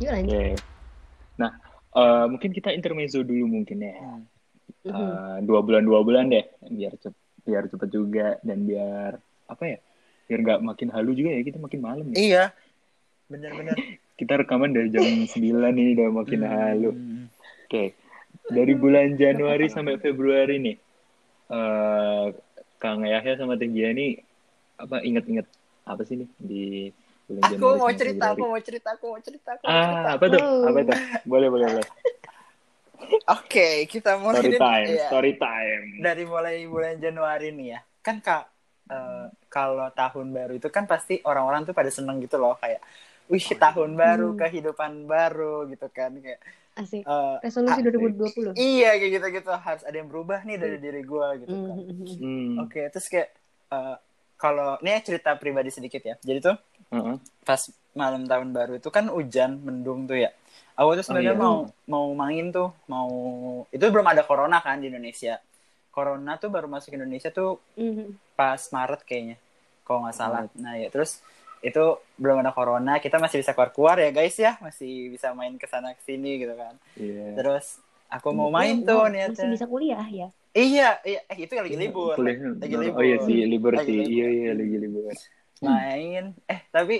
Yuk lanjut. Oke. Nah, eh, mungkin kita intermezzo dulu mungkin ya. Hmm. Iya. Mhm. Eh, dua bulan dua bulan deh, biar cep biar cepet juga dan biar apa ya? Biar nggak makin halu juga ya kita makin malam ya. Iya. Bener-bener. Kita rekaman dari jam 9 nih udah makin Hmm. halu. Oke, dari bulan Januari sampai Februari nih, eh Kang Yahya sama Teh Gia nih apa inget-inget apa sih nih di bulan Aku Januari mau sama cerita, aku Februari? mau cerita, aku mau cerita, aku mau cerita. Ah, apa tuh? Apa tuh? Boleh, boleh, boleh. Oke, kita mulai Story dari- time, iya. story time. dari mulai bulan Januari nih ya. Kan kak eh, kalau tahun baru itu kan pasti orang-orang tuh pada seneng gitu loh kayak wih tahun baru, Hmm. kehidupan baru gitu kan kayak Asik. eh, Resolusi 2020. iya kayak gitu-gitu harus ada yang berubah nih dari diri gue gitu kan. Mhm. Hmm. Oke, terus kayak eh, kalau ini cerita pribadi sedikit ya. Jadi tuh heeh. pas malam tahun baru itu kan hujan mendung tuh ya. Aku tuh sebenarnya iya. mau mau main tuh, mau itu belum ada corona kan di Indonesia. Corona tuh baru masuk Indonesia tuh Mhm. pas Maret kayaknya kalau nggak salah nah ya terus itu belum ada corona kita masih bisa keluar keluar ya guys ya masih bisa main ke sana ke sini gitu kan Iya. terus aku mau Wow, main tuh wow, niatnya Iya, Masih bisa kuliah ya. iya iya eh, itu lagi libur Kuliahnya lagi nor- libur Oh iya sih, libur Lagi sih. libur. Iya, iya, lagi libur. main eh tapi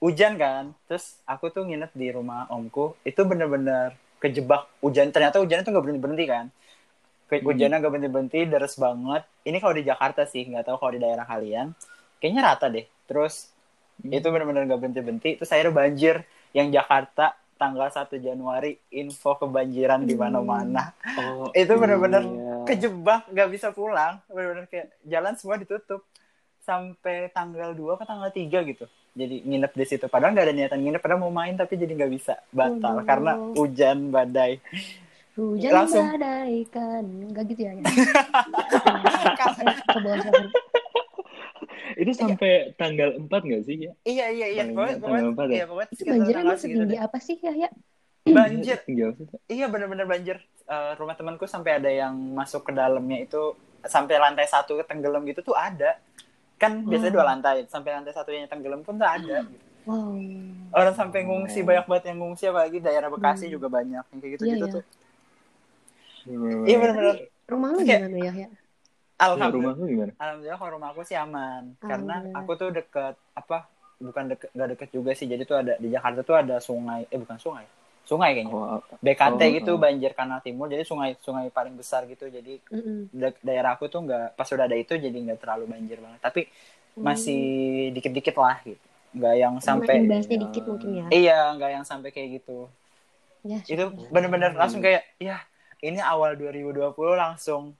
hujan kan terus aku tuh nginep di rumah omku itu bener-bener kejebak hujan ternyata hujannya tuh nggak berhenti berhenti kan Ke- Hmm. hujannya nggak berhenti berhenti deres banget ini kalau di Jakarta sih nggak tahu kalau di daerah kalian kayaknya rata deh terus Hmm. itu bener-bener nggak berhenti berhenti terus akhirnya banjir yang Jakarta tanggal 1 Januari info kebanjiran Hmm. di mana-mana Oh, itu bener-bener iya. kejebak nggak bisa pulang bener-bener kayak jalan semua ditutup sampai tanggal 2 ke tanggal 3 gitu jadi nginep di situ padahal nggak ada niatan nginep padahal mau main tapi jadi nggak bisa batal Waduh. karena hujan badai Hujan Langsung. badai kan. Enggak gitu ya. ya. Karena- Eh, ke bawah sana. Itu sampai tanggal 4 nggak sih ya? iya iya iya Paling pokoknya nggak tanggal empat pokoknya ya? iya pokoknya Itu sekitar banjirnya tanggal emang segitu setinggi gitu deh. apa sih ya? ya? banjir Iya, maksudnya. iya bener-bener banjir Eh, rumah temanku sampai ada yang masuk ke dalamnya itu sampai lantai satu tenggelam gitu tuh ada kan biasanya Hmm. dua lantai sampai lantai satunya tenggelam pun tuh ada gitu. Wow. orang sampai ngungsi banyak banget yang ngungsi apalagi daerah Bekasi Hmm. juga banyak yang kayak gitu Iya, gitu iya. tuh Bener-bener. iya benar-benar Rumah lu Oke. gimana ya? ya? Nah, alhamdulillah rumah lu gimana? alhamdulillah kalau rumah aku sih aman karena Alhamdulillah. aku tuh deket apa bukan deket nggak deket juga sih jadi tuh ada di Jakarta tuh ada sungai eh bukan sungai sungai kayaknya Oh, BKT Oh, gitu oh. banjir kanal timur jadi sungai sungai paling besar gitu jadi Mm-mm. da- daerah aku tuh nggak pas udah ada itu jadi nggak terlalu banjir banget tapi Oh. masih dikit-dikit lah gitu nggak yang sampai Cuma imbasnya dikit mungkin ya. iya nggak yang sampai kayak gitu Ya, itu bener-bener langsung kayak ya ini awal 2020 langsung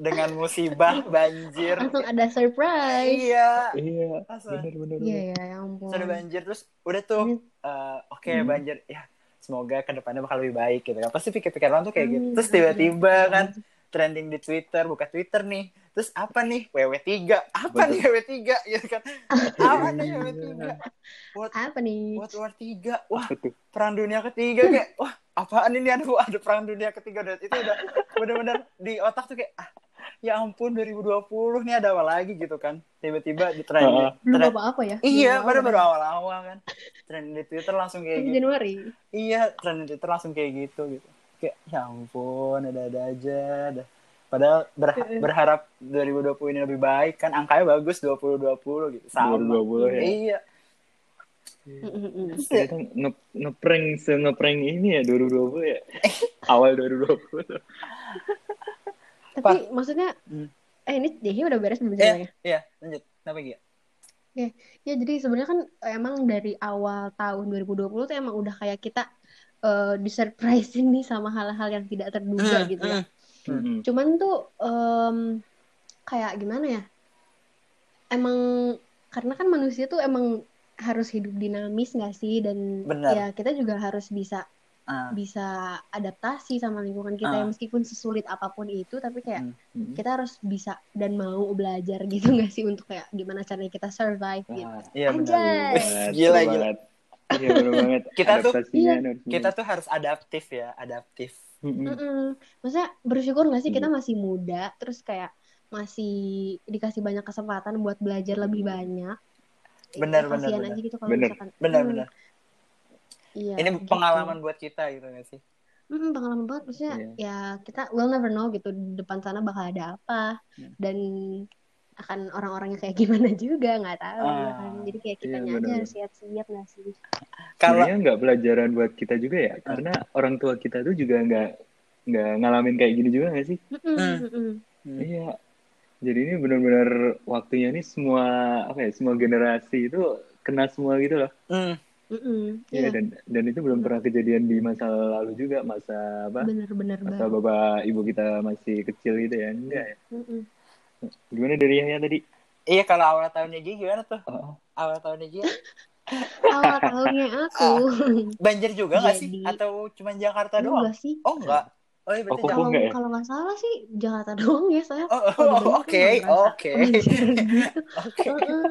dengan musibah banjir langsung ada surprise. iya iya. langsung Bener-bener. Iya ya, ya ampun. Terus ada banjir terus udah tuh Ini- eh, oke Hmm. banjir ya semoga kedepannya bakal lebih baik gitu kan pasti pikir-pikir orang tuh kayak gitu Amin. terus tiba-tiba Hmm. kan trending di Twitter buka Twitter nih terus apa nih WW3 apa Betul. nih WW3 gitu kan apa nih WW3 Apa nih? World War 3 wah Apa tuh? perang dunia ketiga kayak wah apaan ini ada ada perang dunia ketiga dan itu udah benar-benar di otak tuh kayak ah, ya ampun 2020 nih ada apa lagi gitu kan tiba-tiba di trend Heeh. Belum trend- apa-apa ya? iya Belum baru apa-apa. baru awal-awal kan trend di Twitter langsung kayak Tapi gitu Januari. iya trend di Twitter langsung kayak gitu gitu kayak ya ampun ada-ada aja dah. padahal berha- Heeh. berharap 2020 ini lebih baik kan angkanya bagus 2020 gitu sama 2020 ya. iya Mhm, Mm-mm. Ternyata nge ngeprank se ngeprank ini ya 2020 ya. Eh. Awal 2020. Tapi Pak. maksudnya Hmm. eh ini Dehi udah beres belum iya ceritanya? iya lanjut kenapa Gia? Ya jadi sebenarnya kan emang dari awal tahun 2020 tuh emang udah kayak kita eh, disurprisein nih sama hal-hal yang tidak Hmm, terduga gitu ya. Mm-mm. Cuman tuh em, kayak gimana ya? Emang karena kan manusia tuh emang harus hidup dinamis nggak sih dan Benar. ya kita juga harus bisa Ah. bisa adaptasi sama lingkungan kita ya Ah. meskipun sesulit apapun itu tapi kayak Mm-mm. kita harus bisa dan mau belajar gitu nggak sih untuk kayak gimana caranya kita survive gitu. Wah, Iya benar. Anjay. Wih, Bener gila, gila. banget. Iya bener banget. Kita tuh- Adaptasinya Iya. harus- Hmm, Kita tuh harus adaptif ya, adaptif. Mm-mm. Mm-mm. Maksudnya bersyukur nggak sih Iya. kita masih muda terus kayak masih dikasih banyak kesempatan buat belajar lebih banyak. Ya, Benar, benar, Kasihan benar. aja gitu kalau Benar. misalkan. Benar hmm, benar. Iya. Ini gitu. pengalaman buat kita gitu gak sih? Mm, pengalaman banget maksudnya Iya. ya kita will never know gitu di depan sana bakal ada apa Hmm. dan akan orang-orangnya kayak gimana juga nggak tahu Ah, ya kan. jadi kayak kita iya, aja benar-benar. harus siap-siap nggak sih Kalau Sebenarnya nggak pelajaran buat kita juga ya, karena orang tua kita tuh juga nggak nggak ngalamin kayak gini juga nggak sih? Mm-mm, Hmm. mm-mm. Hmm. Iya. Jadi ini benar-benar waktunya nih semua apa ya semua generasi itu kena semua gitu loh. Hmm, Mm-mm. Iya. iya Dan dan itu belum pernah kejadian di masa lalu juga masa apa? bener-bener Masa banget bapak ibu kita masih kecil gitu ya? Enggak ya. Mm-mm. Gimana dari Yahya tadi? iya kalau awal tahunnya Gi gimana tuh? Oh. Awal tahunnya Gi awal tahunnya Ah, aku banjir juga nggak sih? Jadi- Atau cuma Jakarta doang? enggak sih Oh enggak. Oh iya berarti Oh, kalau enggak ya? kalau nggak salah sih Jakarta doang ya saya Oh, Kalau di Bandung oh, tuh nggak oke, ngerasa oke, kebanjiran gitu. oke, Heeh.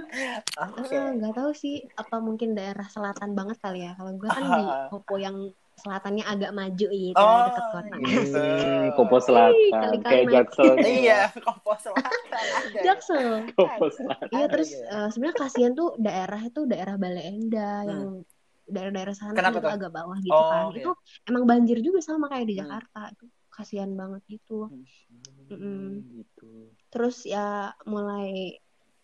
Ah, oke. Heeh, nggak tahu sih apa mungkin daerah selatan banget kali ya kalau gue kan di Ah. Kopo yang selatannya agak maju gitu Oh, dekat kota gitu. Hmm, Kopo Selatan, kali kayak kanan. Jaksel. gitu. Iya, Kopo Selatan ada. Jaksel Kopo Selatan. iya Ada terus ya. eh, sebenarnya kasihan tuh daerah itu daerah Bale Endah yang daerah-daerah sana kan Hmm. Kenapa itu tuh? agak bawah gitu Oh, kan iya. itu emang banjir juga sama kayak di Hmm. Jakarta itu kasihan banget gitu Hmm, gitu. terus ya mulai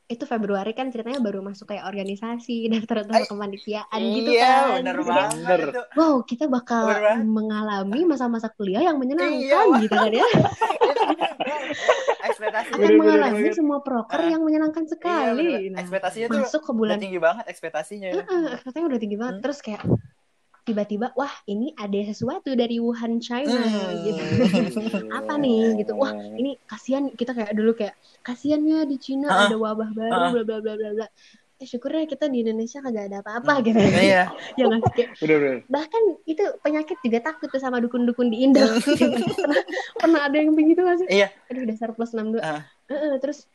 itu Februari kan ceritanya baru masuk kayak organisasi daftar-daftar Ay. kepanitiaan gitu kan Iya, bener Terus kayak, banget itu. wow kita bakal Bener banget. mengalami masa-masa kuliah yang menyenangkan Iya, gitu kan ya Ekspektasinya akan Bener-bener mengalami banget. semua proker Ah. yang menyenangkan Iya, sekali bener. Nah, Ekspektasinya tuh masuk ke udah bulan tinggi banget ekspektasinya. Heeh, ekspektasinya udah tinggi banget Iya. Hmm. terus kayak tiba-tiba wah ini ada sesuatu dari Wuhan China Hmm. gitu apa nih gitu wah ini kasihan kita kayak dulu kayak kasihannya di Cina Ah. ada wabah Ah. baru bla bla bla bla bla eh syukurnya kita di Indonesia kagak ada apa-apa Hmm. gitu Iya. ya nggak sih? Kayak, Bener-bener. bahkan itu penyakit juga takut tuh sama dukun-dukun di Indo gitu. pernah, pernah ada yang begitu nggak sih Iya. aduh dasar plus 62 Ah. Heeh, terus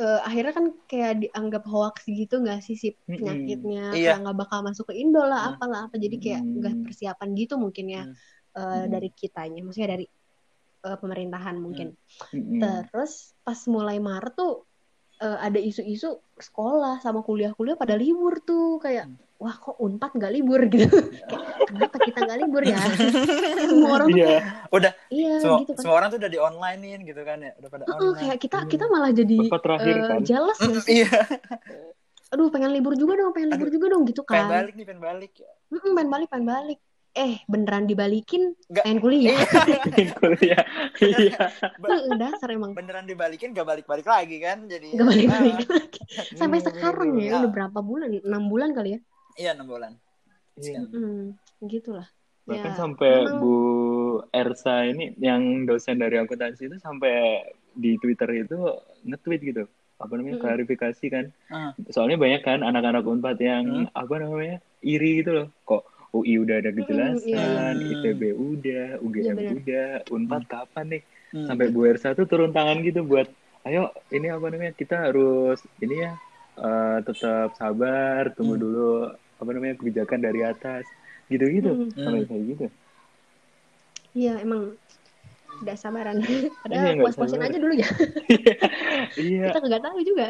eh, akhirnya kan kayak dianggap hoax gitu nggak sih si penyakitnya Iya. kayak nggak bakal masuk ke Indo Hmm. lah apalah apa jadi kayak Hmm. nggak persiapan gitu mungkin ya Hmm. eh, Hmm. dari kitanya maksudnya dari eh, pemerintahan mungkin Mm-mm. terus pas mulai Maret tuh eh, ada isu-isu sekolah sama kuliah-kuliah pada libur tuh kayak wah kok unpad nggak libur gitu Kayak, kenapa kita nggak libur ya semua orang tuh Iya. iya Semua, gitu kan semua Hmm. orang tuh udah di onlinein gitu kan ya, udah pada Heeh, online. kayak kita Iya. kita malah jadi Bapak terakhir eh, kan. jealous nggak sih? Iya, aduh pengen libur juga dong pengen libur juga dong gitu pengen kan balik nih, pengen balik. Mm-mm, pengen balik pengen balik eh beneran dibalikin Nggak. Iya, pengen kuliah Kuliah. Iya. Heeh, dasar emang Beneran dibalikin gak balik-balik lagi kan jadi. gak balik balik Iya. Ah, iya. lagi sampai sekarang ya Nggak. udah berapa bulan enam bulan kali ya Iya, 6 bulan. Iya. Mm, gitulah Bahkan Ya, sampai emang- Bu Ersa ini yang dosen dari akuntansi itu sampai di Twitter itu nge-tweet gitu. Apa namanya? Mm-mm. Klarifikasi kan. Ah. Soalnya banyak kan anak-anak Unpad yang apa namanya? iri gitu loh. Kok UI udah ada kejelasan, iya, iya. ITB udah, Iya, UGM benar. udah, Unpad kapan nih? Hmm. Sampai Bu Ersa tuh turun tangan gitu buat ayo ini apa namanya? Kita harus ini ya eh, tetap sabar, tunggu Hmm. dulu apa namanya? kebijakan dari atas. Gitu-gitu. Mm, Hmm. Sampai kayak gitu. iya emang tidak sabaran Iya, padahal nggak puas-puasin sabaran. aja dulu ya Iya, kita nggak tahu juga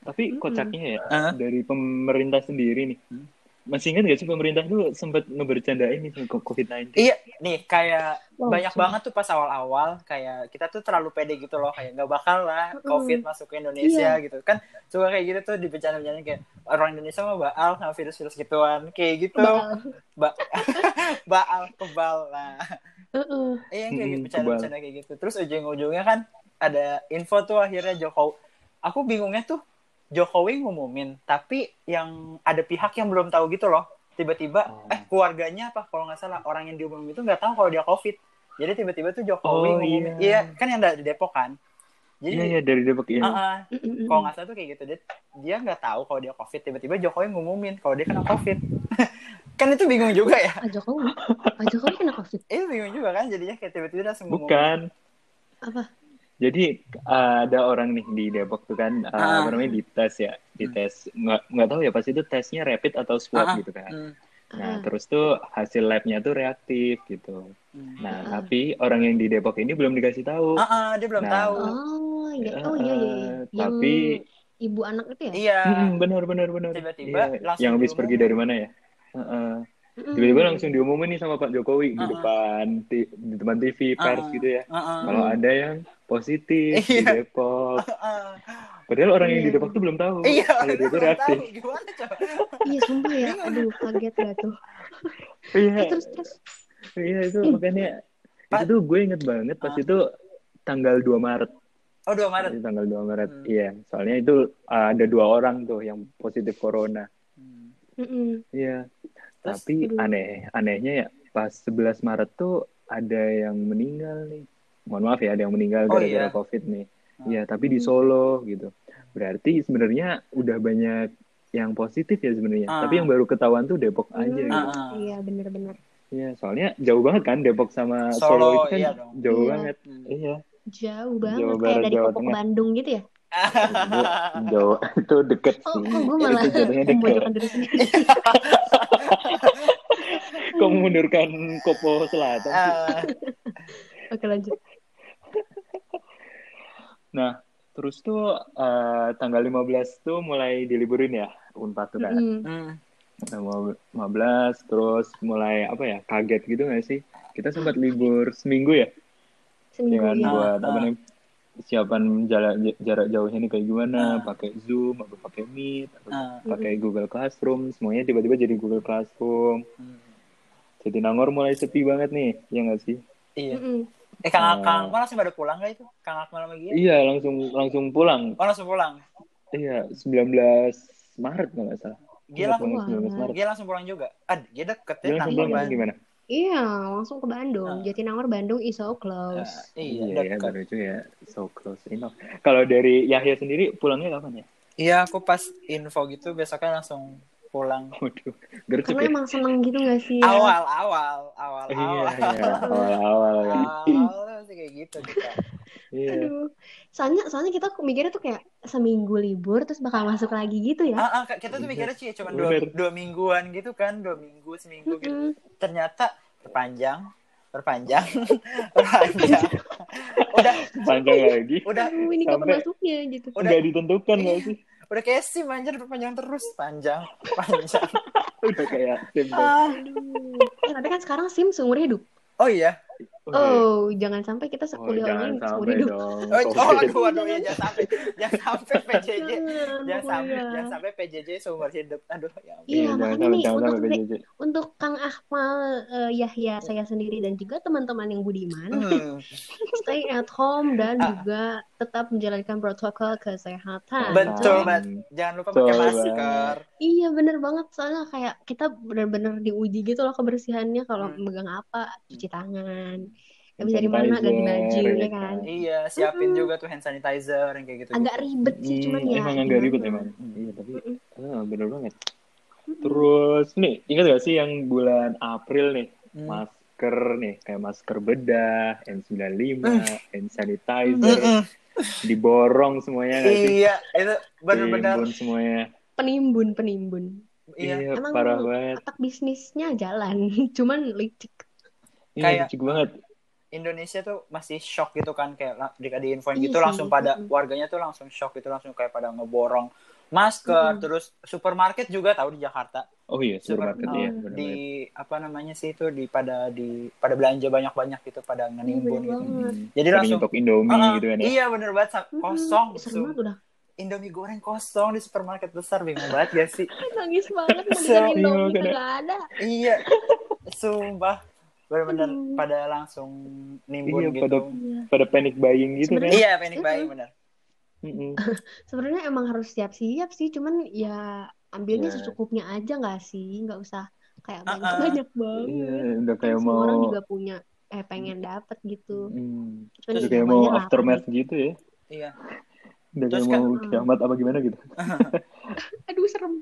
tapi Mm-mm. kocaknya ya Ah. dari pemerintah sendiri nih. Hmm. Masih ingat gak sih pemerintah dulu sempat ngebercandain nih tentang COVID-19? Iya, nih kayak Wow, banyak sumpah. banget tuh pas awal-awal kayak kita tuh terlalu pede gitu loh kayak nggak bakal lah Mm-mm. Iya. covid masuk ke Indonesia gitu kan suka kayak gitu tuh dibencana-bencana kayak orang Indonesia mah baal sama virus-virus gituan kayak gitu Bakal. ba baal kebal Nah, lah Heeh. iya Mm-mm, kayak gitu bercanda-bercanda kayak gitu terus ujung-ujungnya kan ada info tuh akhirnya Jokowi aku bingungnya tuh Jokowi ngumumin tapi yang ada pihak yang belum tahu gitu loh tiba-tiba Oh. eh keluarganya apa kalau nggak salah orang yang diumumin itu nggak tahu kalau dia covid jadi tiba-tiba tuh Jokowi Oh, iya. ngumumin iya kan yang ada di Depok kan Iya, jadi iya dari Depok ya. uh-uh, Mm-mm. kalau nggak salah tuh kayak gitu dia dia nggak tahu kalau dia covid tiba-tiba Jokowi ngumumin kalau dia kena covid kan itu bingung juga ya Pak Jokowi Pak Jokowi kena covid Iya bingung juga kan jadinya kayak tiba-tiba langsung ngomong. Bukan. Apa? Jadi uh, ada orang nih di Depok tuh kan uh, Ah. Hmm. apa namanya dites ya, dites nggak nggak tahu ya pas itu tesnya rapid atau swab Ah, ah. gitu kan. Hmm. Ah. Nah terus tuh hasil labnya tuh reaktif gitu. Hmm. Nah Ah. tapi orang yang di Depok ini belum dikasih tahu. Ah, ah, dia belum Nah. tahu. oh iya oh iya iya iya. Eh, yang tapi- ibu anak itu ya Iya. Hmm, benar benar benar. Tiba-tiba Iya, langsung yang habis diumumin. pergi dari mana ya? Heeh. Mm-mm. Tiba-tiba langsung diumumin nih sama Pak Jokowi di Ah, ah. depan ti- di depan TV pers Ah, gitu ya. Heeh. Kalau ada yang positif di Iya. Depok. Heeh. Padahal orang yang di Iya. Depok tuh belum tahu. Iya, Kalau dia orang tuh nggak reaktif. tahu gimana coba. Iya sumpah ya, aduh kaget gak tuh. Iya, Eh, terus terus iya itu Ih. makanya Pak. itu tuh gue inget banget pas Ah. itu tanggal 2 Maret. Oh, 2 Maret. Itu Tanggal 2 Maret. Hmm. Iya, soalnya itu uh, ada dua orang tuh yang positif corona. Hmm. Mm-mm. Iya. Terus, Tapi aduh. aneh, anehnya ya pas 11 Maret tuh ada yang meninggal nih. Mohon maaf ya, ada yang meninggal Oh, gara-gara iya. COVID nih. Ah. Iya, tapi di Hmm. Solo gitu. Berarti sebenarnya udah banyak yang positif ya sebenarnya. Ah. Tapi yang baru ketahuan tuh Depok aja Hmm, gitu. Ah, ah. Iya bener-bener. Iya, soalnya jauh banget kan Depok sama Solo, Solo, itu kan iya dong. jauh Iya. banget. Hmm. Iya. Jauh banget Jawa kayak Barat, dari Jawa Depok ke Tengah. Bandung gitu ya. Itu jauh itu deket Oh, sih. kok gue malah Iya, Itu jatuhnya deket. memojokkan diri sendiri. Kok mengundurkan Kopo Selatan sih? Ah, Oke lanjut. Nah, terus tuh eh, tanggal 15 tuh mulai diliburin ya Unpad tuh kan. Mm-mm. hmm. Tanggal 15 Nah, terus mulai apa ya? Kaget gitu gak sih? Kita sempat libur seminggu ya Seminggu dengan ya. gua. buat apa Ah. namanya? Siapan jarak jarak jauhnya ini kayak gimana? Ah. Pakai Zoom atau pakai Meet atau Ah. pakai Google Classroom, semuanya tiba-tiba jadi Google Classroom. Hmm. Jadi Nangor mulai sepi banget nih, ya nggak sih? Iya. Mm-mm. Eh Kang Ah. Ak- Kang Akmal langsung pada pulang gak itu? Kang Akmal sama Gia? Iya, langsung langsung pulang. Oh langsung pulang. Iya, 19 Maret kalau nggak salah. Gia Iya, langsung pulang 19 Maret. Gia langsung pulang juga. Ah, Gia deket Dia ya langsung Nangor pulang Bandung. gimana? Iya, langsung ke Bandung. Ah. Jatinangor Bandung is so Ah, close. iya, ya, deket. baru itu ya. So close enough. Kalau dari Yahya sendiri pulangnya kapan ya? Iya, aku pas info gitu besoknya langsung pulang. Waduh, gercep Karena ya. emang seneng gitu gak sih? ya? Awal, awal, awal, Iya, awal. iya, awal-awal ya. Awal sih kayak gitu kita. Iya. Aduh. Soalnya soalnya kita mikirnya tuh kayak seminggu libur terus bakal masuk lagi gitu ya. Ah, ah, kita tuh mikirnya sih cuma dua, Iya. Bener. dua mingguan gitu kan, dua minggu, seminggu gitu. Mm-mm. Ternyata perpanjang, perpanjang, perpanjang. udah, Panjang lagi. udah, Aduh, ini Sampai- kapan masuknya gitu. udah, Nggak ditentukan nggak Iya. sih? udah kayak sim anjir perpanjang terus, panjang, panjang. Udah kayak ya, tim Oh, band. Ah, Aduh. Eh, tapi kan sekarang SIM seumur hidup. Oh iya. Oh, jangan sampai kita Oh, sekuliah online jangan seumur sampai hidup. dong. Oh, oh Covid. Iya, aduh, aduh, ya, jangan sampai, jangan sampai PJJ, Jangan, jangan sampai, pokoknya. jangan sampai PJJ seumur hidup. Aduh, ya ampun. Iya, jangan makanya sampai, nih, jangan untuk sampai Ri- PJJ. Untuk Kang Akmal, eh, Yahya, saya sendiri dan juga teman-teman yang budiman, Hmm. stay at home dan Ah. juga tetap menjalankan protokol kesehatan. Betul, Soalnya- Mbak. Jangan lupa pakai Betul masker. Iya, bener banget. Soalnya kayak kita bener-bener diuji gitu loh kebersihannya kalau Hmm. megang apa, cuci tangan. Gak Hand bisa di mana, ganti baju, sanitizer, ya ya kan? kan. Iya, siapin Mm-mm. juga tuh hand sanitizer yang kayak gitu. Agak ribet sih, cuman Hmm, ya. Emang agak ribet gimana? emang. Iya, tapi Mm-mm. ah, bener banget. Terus nih, ingat gak sih yang bulan April nih? Masker nih, kayak masker bedah, N95, Eh. hand sanitizer, diborong semuanya gak sih? Hmm, Iya, itu benar-benar Timbun semuanya. Penimbun, penimbun. iya. Iya, Emang parah banget. Otak bisnisnya jalan, cuman licik. Iya, Kayak- lucu banget. Indonesia tuh masih shock gitu kan kayak la- di diinfoin Iya gitu sih, langsung pada mm-mm. warganya tuh langsung shock gitu langsung kayak pada ngeborong masker Mm-mm. terus supermarket juga tahu di Jakarta Oh iya, supermarket Super- ya. oh, bener banget. di apa namanya sih itu di pada di pada belanja banyak-banyak gitu pada ngenimbun Iya, bener gitu. banget. Hmm. Jadi Sering langsung- nyetok Indomie Ah, gitu kan ya. Iya bener banget sa- Mm-mm. kosong. Hmm, Serem banget udah. Indomie goreng kosong di supermarket besar bingung banget gak sih? Nangis banget mau dengerin Serem Indomie banget. kagak ada. iya. Sumpah bener-bener Aduh. pada langsung nimbun Iya, gitu. pada- Iya. Pada panic buying gitu kan. Sebenarnya- Iya panic buying bener. Mm-mm. Sebenarnya emang harus siap-siap sih, cuman ya ambilnya Iya. secukupnya aja nggak sih? Nggak usah kayak Ah, ah. banyak-banyak Iya, banget. udah Kan kayak semua mau orang juga punya eh pengen dapet gitu. Hmm. Cuman Udah ya kayak mau namanya lapar. aftermath gitu ya. Iya. Udah Terus kayak kan- mau kiamat apa gimana gitu. gitu. Aduh serem.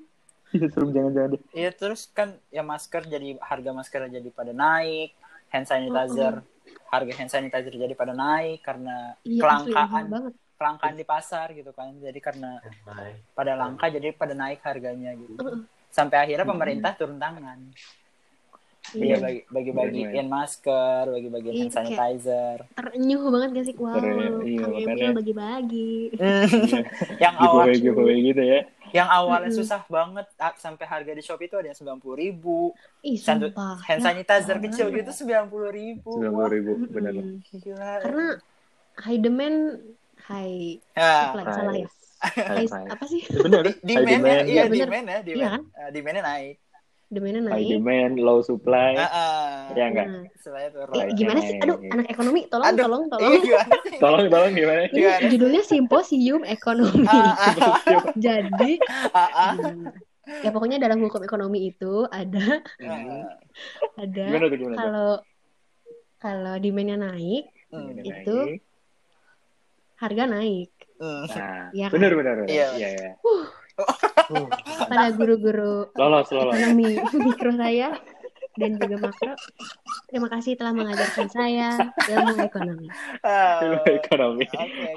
Iya serem jangan-jangan deh. Iya terus kan ya masker jadi harga masker jadi pada naik, hand sanitizer harga hand sanitizer jadi pada naik karena Iya, asli mahal kelangkaan banget. kelangkaan di pasar gitu kan. Jadi karena Eh, pada langka jadi pada naik harganya gitu. Heeh. Sampai akhirnya Hmm. pemerintah turun tangan. Iya, Iya bagi bagi Bener, bagiin masker, bagi bagiin hand Iya, kayak- sanitizer. terenyuh banget gak sih? Wow, Keren, iya, Kang Emil makanya. Hmm. bagi-bagi. yang awal Iya, giveaway giveaway gitu ya. yang awalnya Mm-mm. susah banget ah, sampai harga di Shopee itu ada yang sembilan puluh ribu Ih, Sandu- sumpah. hand Nah, sanitizer parah. kecil gitu sembilan puluh ribu sembilan puluh ribu benar mm-mm. gila Karena high demand, high Ah, supply, high. salah ya. high High, five apa sih? benar ya? high demand-nya, demand iya Iya, bener. demand ya Iya demand kan? Ah, demand-nya naik Demandnya high naik. demand low supply Ah, ah. ya enggak Nah, Selain turun. eh, Naik, gimana sih? Aduh, naik. anak ekonomi, tolong, Aduh, tolong, tolong. Iya gimana sih? tolong tolong gimana sih Ini Iya. judulnya Simposium Ekonomi. Ah, ah, Jadi, ah, ah. hmm, ya pokoknya dalam hukum ekonomi itu ada Ya, Ah, Hmm. ada gimana tuh gimana tuh kalau kalau demandnya naik, Hmm, Gimana itu naik? harga naik. hmm. nah Iya kan? benar benar benar. Iya. iya iya Uh, Pada guru-guru lolos lolos ekonomi mikro saya dan juga makro. Terima kasih telah mengajarkan saya ilmu ekonomi. Ah, Ilmu Oke, ekonomi oke.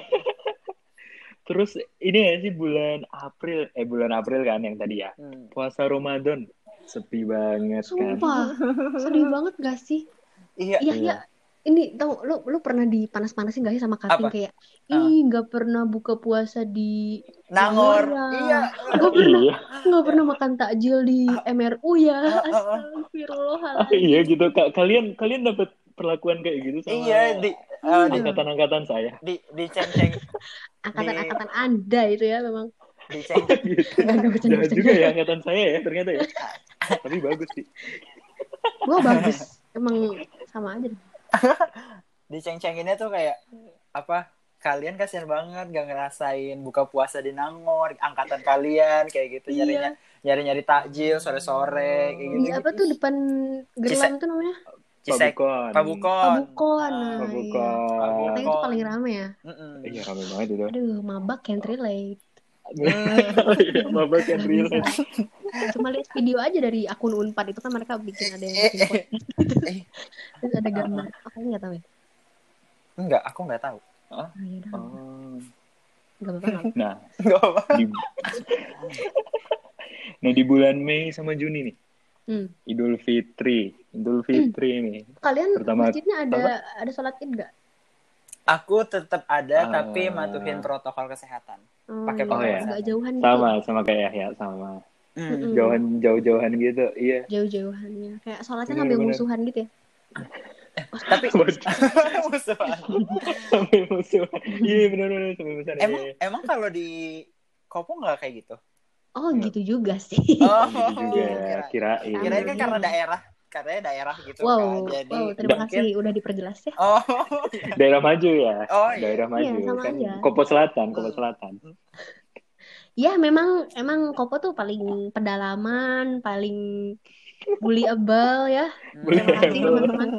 terus ini ya sih bulan April eh bulan April kan yang tadi ya Hmm. puasa Ramadan sepi banget kan Sumpah, sedih banget gak sih? Iya. Iya, iya. Ini tau, lu, lu pernah dipanas-panasin gak sih sama kating Apa? kayak, Ah. ih gak pernah buka puasa di Nangor. Nangor. Iya. Gue pernah iya nggak pernah makan takjil di MRU ya. Ah, ah, ah. Astagfirullahaladzim. iya gitu Ka- kalian kalian dapat perlakuan kayak gitu sama Iya di eh, di Iya. angkatan-angkatan saya di di ceng-ceng Angkatan-angkatan Anda itu ya memang. di ceng-ceng. gitu. Enggak, enggak, bercanda, Jangan bercanda. juga ya angkatan saya ya ternyata ya. Tapi bagus sih. Gue bagus. Emang sama aja. deh. di ceng-cenginnya tuh kayak apa? Kalian kasihan banget gak ngerasain buka puasa di Nangor, angkatan kalian kayak gitu Iya. nyarinya nyari-nyari takjil sore-sore kayak gitu. Di apa tuh depan Gerlam tuh namanya? Cisek Pabukon. Pabukon. Pabukon. Ah, Nah, iya. Pabukon. Katanya itu paling rame ya. Mm-mm. Iya rame banget itu. Oh, Aduh, mabak can't relate. Hmm. Mabak yang iya, kan real. Cuma lihat video aja dari akun Unpad itu kan mereka bikin ada yang bikin podcast. Eh, Terus ada gambar. Aku nggak tahu ya. Enggak, aku nggak tahu. Ah, ya udah, Oh. nggak apa-apa. nggak apa-apa. Nah, Enggak apa. di Nah, di bulan Mei sama Juni nih, Hmm. Idul Fitri. Idul Hmm. Fitri nih. Kalian Terutama- masjidnya ada ada sholat id nggak? Aku tetap ada Ah. tapi matuhin protokol kesehatan. Hmm, Pakai Oh, iya. Agak jauhan gitu. Sama sama kayak Yahya sama. Mm-mm. Jauhan jauh-jauhan gitu. Iya. jauh-jauhannya kayak sholatnya Bener, sambil bener. musuhan gitu ya Tapi musuhan. sampai musuhan. Iya benar-benar sampai musuhan. Iya, Emang iya. emang kalau di Kopo nggak kayak gitu? oh Iya. gitu juga sih Oh, gitu juga ya, kira- kirain. iya, Kirain kan Iya. karena daerah, karena daerah gitu wow kan. Jadi wow terima mungkin- kasih udah diperjelas ya Oh, daerah maju ya Oh, iya. daerah maju Iya, sama kan aja. Nah. Kopo Selatan Kopo Selatan ya memang emang kopo tuh paling pedalaman paling bullyable ya Boleh. terima kasih teman-teman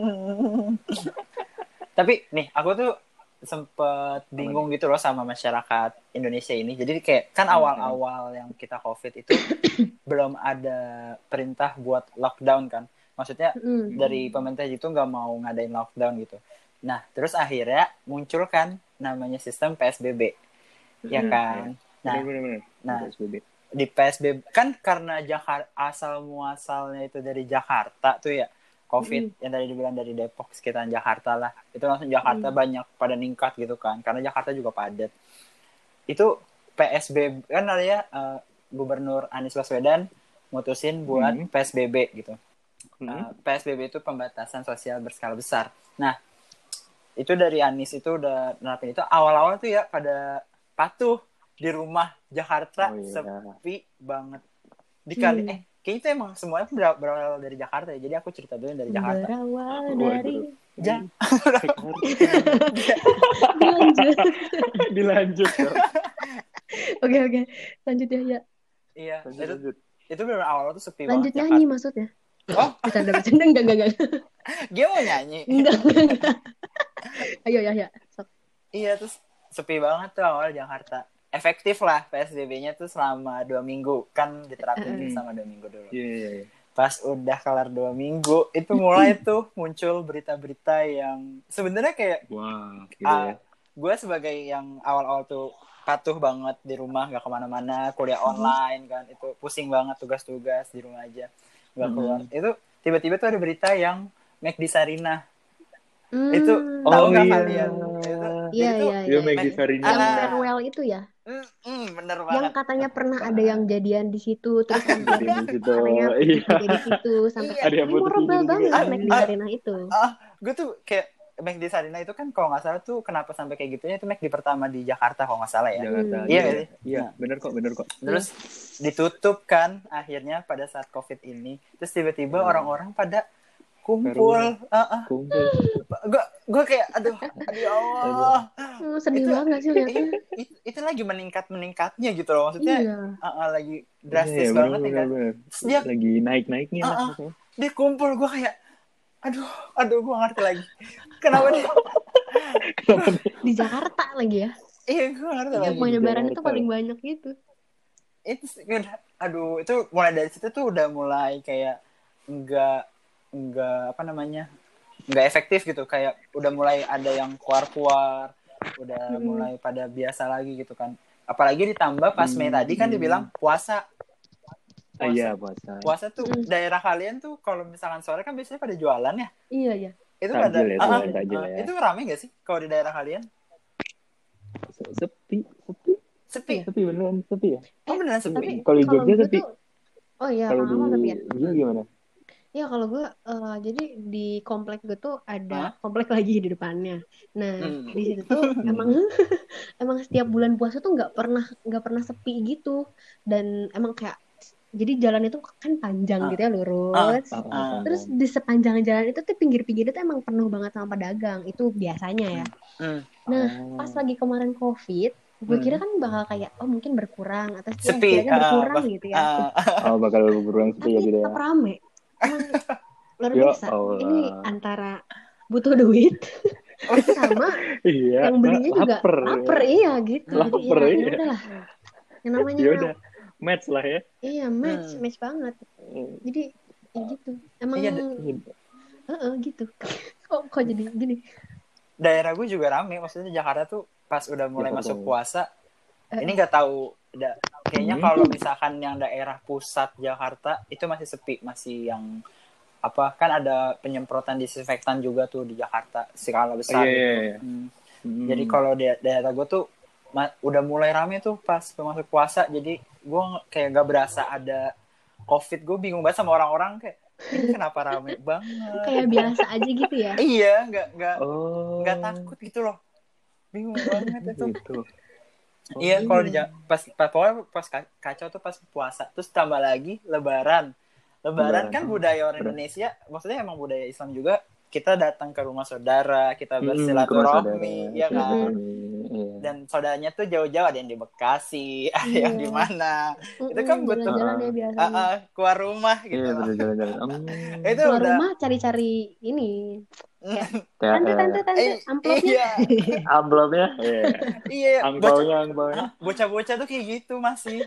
Tapi nih, aku tuh sempet bingung gitu loh sama masyarakat Indonesia ini. Jadi kayak kan Hmm. awal-awal yang kita COVID itu belum ada perintah buat lockdown kan. Maksudnya Mm. dari pemerintah itu nggak mau ngadain lockdown gitu. Nah, terus akhirnya muncul kan namanya sistem PSBB. Ya Hmm, kan? Iya. Nah, benar-benar nah. PSBB. di PSBB kan karena Jakarta asal muasalnya itu dari Jakarta tuh ya COVID yang tadi dibilang dari Depok sekitaran Jakarta lah itu langsung Jakarta banyak pada ningkat gitu kan karena Jakarta juga padat itu PSBB kan adanya eh, Gubernur Anies Baswedan mutusin buat Hmm. PSBB gitu Hmm. Nah. Uh, PSBB itu pembatasan sosial berskala besar. Nah, itu dari Anies itu udah nerapin itu awal-awal tuh ya pada patuh di rumah Jakarta Oh, iya. sepi banget. Dikali Hmm. eh kayaknya itu emang semuanya bera- berawal dari Jakarta ya. Jadi aku cerita dulu yang dari Jakarta. berawal Waduh. dari Ja- lanjut dilanjut dong. oke oke lanjut ya ya iya, lanjut itu, lanjut itu benar awal tuh sepi lanjut banget. nyanyi maksudnya Oh. bercanda bercanda enggak enggak enggak Jakarta. Dia mau nyanyi. enggak enggak. ayo ya ya Sok. Iya, terus sepi banget tuh awal Jakarta. Efektif lah PSBB-nya tuh selama dua minggu kan diterapin Mm-mm. sama dua minggu dulu. iya iya iya. pas udah kelar dua minggu itu mulai tuh muncul berita-berita yang sebenarnya kayak wah Ah, gila ya. gue sebagai yang awal-awal tuh patuh banget di rumah nggak kemana-mana kuliah online kan itu pusing banget tugas-tugas di rumah aja nggak keluar itu tiba-tiba tuh ada berita yang McD Sarina Hmm. Itu- Oh, tahu nggak kalian? Iya, iya Jadi tuh- iya, Iya, iya. Maggie Sarina. Yang Ah. farewell KRL itu ya, Mm, mm, bener yang kan banget. katanya pernah ada yang jadian di situ, terus ada Jadi di situ, katanya iya. ada di situ sampai Iya. Ada yang Iya. ini putus memorable tidur juga. banget Ah, naik di ah. arena itu. Gue tuh kayak McD Sarina itu kan kalau nggak salah tuh kenapa sampai kayak gitunya itu McD pertama di Jakarta kalau nggak salah ya. Jakarta. Hmm. Iya, Iya, iya. iya, bener kok, bener kok. Terus ditutup kan akhirnya pada saat COVID ini. Terus tiba-tiba Hmm. orang-orang pada kumpul. Ah, Heeh. Kumpul. Gue gue kayak aduh, aduh ya Allah. Hmm, sedih Itu- banget sih lihatnya. Itu- Iya, itu, itu lagi meningkat meningkatnya gitu loh maksudnya Iya. ah, ah, lagi Iya, drastis banget nih bener, kan bener, Terus bener. dia Lagi naik-naiknya. Ah, ah. maksudnya. dia kumpul gue kayak aduh aduh gue ngerti lagi kenapa dia Di Jakarta lagi ya. iya gue ngerti Yang lagi di penyebaran itu Jakarta. paling banyak gitu. itu sih, udah- aduh itu mulai dari situ tuh udah mulai kayak enggak enggak apa namanya enggak efektif gitu kayak udah mulai ada yang keluar-keluar udah Mm. mulai pada biasa lagi gitu kan apalagi ditambah pas Mei Hmm. tadi kan dibilang puasa Ah, Iya, puasa. puasa tuh Mm. daerah kalian tuh kalau misalkan sore kan biasanya pada jualan ya Iya ya. itu Takjil pada ya, Ah, jualan ah, takjil ah, ya. itu rame gak sih kalau di daerah kalian Se- Sepi, sepi, sepi sepi beneran sepi ya. oh beneran sepi Tapi Kalau di Jogja gue sepi. tuh Oh iya, Kalau di lama tapi ya. Jogja gimana? Iya kalau gue eh, jadi di komplek gue tuh ada Hah? komplek lagi di depannya. Nah Hmm. di situ tuh emang emang setiap bulan puasa tuh nggak pernah nggak pernah sepi gitu dan emang kayak jadi jalan itu kan panjang Ah. gitu ya lurus. Ah, ah, Ah. ah, Terus ah. di sepanjang jalan itu tuh pinggir-pinggirnya tuh emang penuh banget sama pedagang. Itu biasanya ya. Hmm. Nah, Oh. pas lagi kemarin COVID, gue Hmm. kira kan bakal kayak oh mungkin berkurang atau sih Sepi, kiranya ah, berkurang bah- gitu ya. Ah, ah, Oh, bakal berulang sepi Tapi ya gitu ya. tetap rame. Emang luar Ya biasa. Allah. Ini antara butuh duit sama Iya. yang belinya nah, juga Lapar. lapar iya gitu. Jadi Lapar, ya, iya. ya udahlah. Yang namanya Ya udah, match lah ya. iya match Hmm. match banget. Jadi ya gitu. Emang Iya, Heeh, gitu. kok kok jadi gini? daerah gue juga rame maksudnya Jakarta tuh pas udah mulai Jakarta masuk ya. puasa Eh. ini nggak tahu da- kayaknya Hmm. kalau misalkan yang daerah pusat Jakarta itu masih sepi masih yang apa kan ada penyemprotan disinfektan juga tuh di Jakarta skala Iya, besar iya, gitu. iya. Hmm. Jadi kalau di daerah gue tuh ma- udah mulai rame tuh pas masuk puasa. Jadi gue nge- kayak gak berasa ada covid. Gue bingung banget sama orang-orang kayak ini kenapa rame banget. Kayak biasa aja gitu ya. iya, nggak nggak Oh. nggak takut gitu loh. Bingung banget itu. Gitu. Oh. Iya kalau di Ja- pas pas pokoknya pas ka- kacau tuh pas puasa. Terus tambah lagi Lebaran. Lebaran. Lebaran kan budaya orang Benar. Indonesia, maksudnya emang budaya Islam juga. Kita datang ke rumah saudara, kita Mm, bersilaturahmi, ya kan silaturahmi, iya. dan saudaranya tuh jauh-jauh ada yang di Bekasi, ada Iya. yang di mana. Mm-mm, Itu kan betul. jalan-jalan ya biasanya. Ah, ah, keluar rumah gitu. Iya, loh. bener jalan-jalan. Mm, Itu keluar udah rumah cari-cari ini TR. tante tante tante Eh, amplopnya Iya. Amplopnya, iya. iya, bocah- Angpaunya, angpaunya. ah, bocah-bocah tuh kayak gitu masih.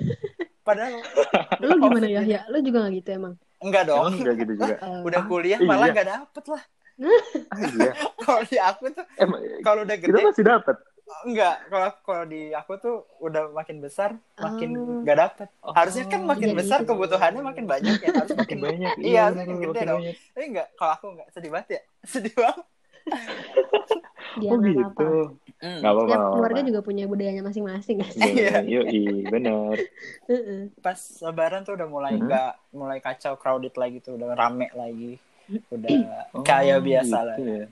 Padahal lu gimana ya ya lu juga gak gitu emang enggak Oh, Ah, dong. enggak gitu juga. Eh, Udah kuliah Iya. malah enggak dapet lah. Ah, iya. Kalau di aku tuh Emang kalau udah kita gede masih dapat. enggak. Kalau kalau di aku tuh udah makin besar Oh. makin enggak dapet. Harusnya kan iya, makin besar iya. kebutuhannya makin banyak ya, harus makin Makin banyak. Iya, harusnya bener, gede makin dong. Iya, banyak. Tapi enggak kalau aku enggak sedih banget ya. Sedih banget. dia Oh nggak gitu. apa-apa Hmm. Nggak apa-apa. setiap nggak keluarga apa-apa. juga punya budayanya masing-masing kan Iya, Iya. Yoi, bener. Heeh. pas lebaran tuh udah mulai Mhm. nggak mulai kacau crowded lagi tuh udah rame lagi udah Oh, kayak biasa lah gitu ya.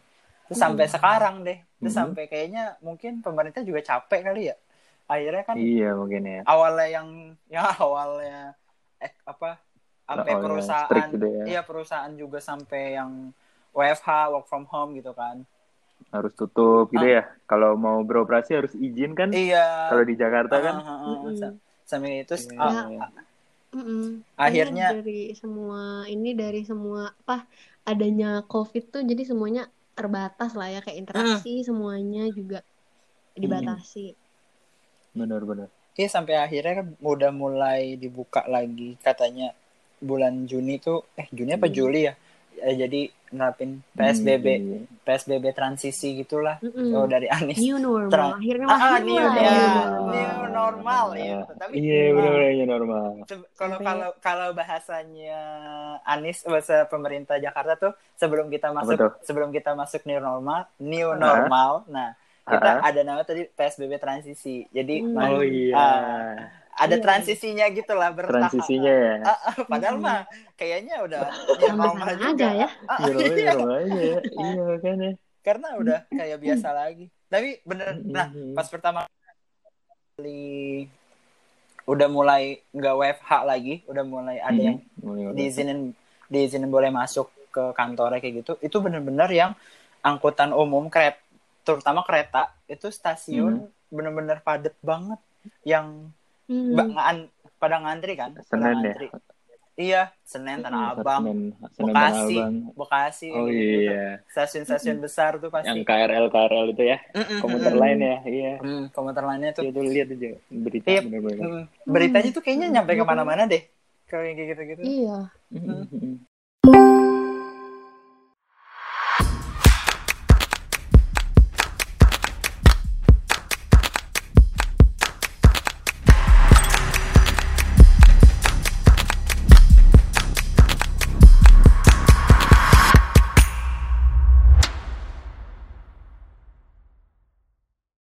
terus sampai sekarang deh terus Mhm. sampai kayaknya mungkin pemerintah juga capek kali ya akhirnya kan Iya, mungkin ya. awalnya yang yang awalnya eh, apa sampai Awalnya perusahaan strict gitu ya. iya perusahaan juga sampai yang WFH work from home gitu kan Harus tutup gitu ya. Kalau mau beroperasi harus izin kan. Ah. iya Kalau di Jakarta kan. Ah, ah, ah, Mm-mm. sa- sampai itu s- Iya. ah, Iya. ah, Mm-mm. Akhirnya- Karena dari semua ini dari semua apa adanya covid tuh jadi semuanya terbatas lah ya kayak interaksi Ah. semuanya juga dibatasi Bener-bener. Iya sampai akhirnya kan udah mulai dibuka lagi katanya bulan Juni tuh eh Juni apa Hmm. Juli ya? Eh, jadi nerapin PSBB Hmm, PSBB transisi gitulah. Mm-mm. Oh dari Anies. Hmm. new normal Tra- akhirnya Ah, ah, masuk new, lah normal. ya, new new normal. normal ya. Iya. Tapi Iya, bener-bener new normal. se- kalau Sampai- kalau kalau bahasanya Anies eh, bahasa pemerintah Jakarta tuh sebelum kita masuk tuh? sebelum kita masuk new normal, new Ah. normal. Nah, kita Ah. ada nama tadi PSBB transisi. Jadi Hmm. man- Oh iya. ah, ada Iya. transisinya gitu lah bertahap. Transisinya ya. Ah, ah, padahal Hmm. mah kayaknya udah sama-sama aja normal ya Ah, Iya, iya. iya, iya. Iya, makanya. Karena udah kayak biasa lagi. Tapi bener, nah Mm-mm. pas pertama kali udah mulai nggak WFH lagi, udah mulai ada yang Mm-mm. diizinin diizinin boleh masuk ke kantornya kayak gitu itu bener-bener yang angkutan umum kereta terutama kereta itu stasiun bener-bener padet banget yang Hmm. ba- ngaan- pada ngantri kan pada Senen ya? ngantri. iya Senen Tanah Abang Senen, Senen Tanah Bekasi Abang. Bekasi Oh gitu-gitu tuh. iya. stasiun-stasiun besar tuh Yang pasti Hmm, KRL KRL itu ya, Mm-mm. komuter lain Iya, ya. Iya. Mm, komuter lainnya tuh Itu lihat aja berita Iya. benar-benar. 啊 Hmm. Mm, beritanya tuh kayaknya nyampe kemana-mana deh kalau yang kayak gitu-gitu iya Mm-mm.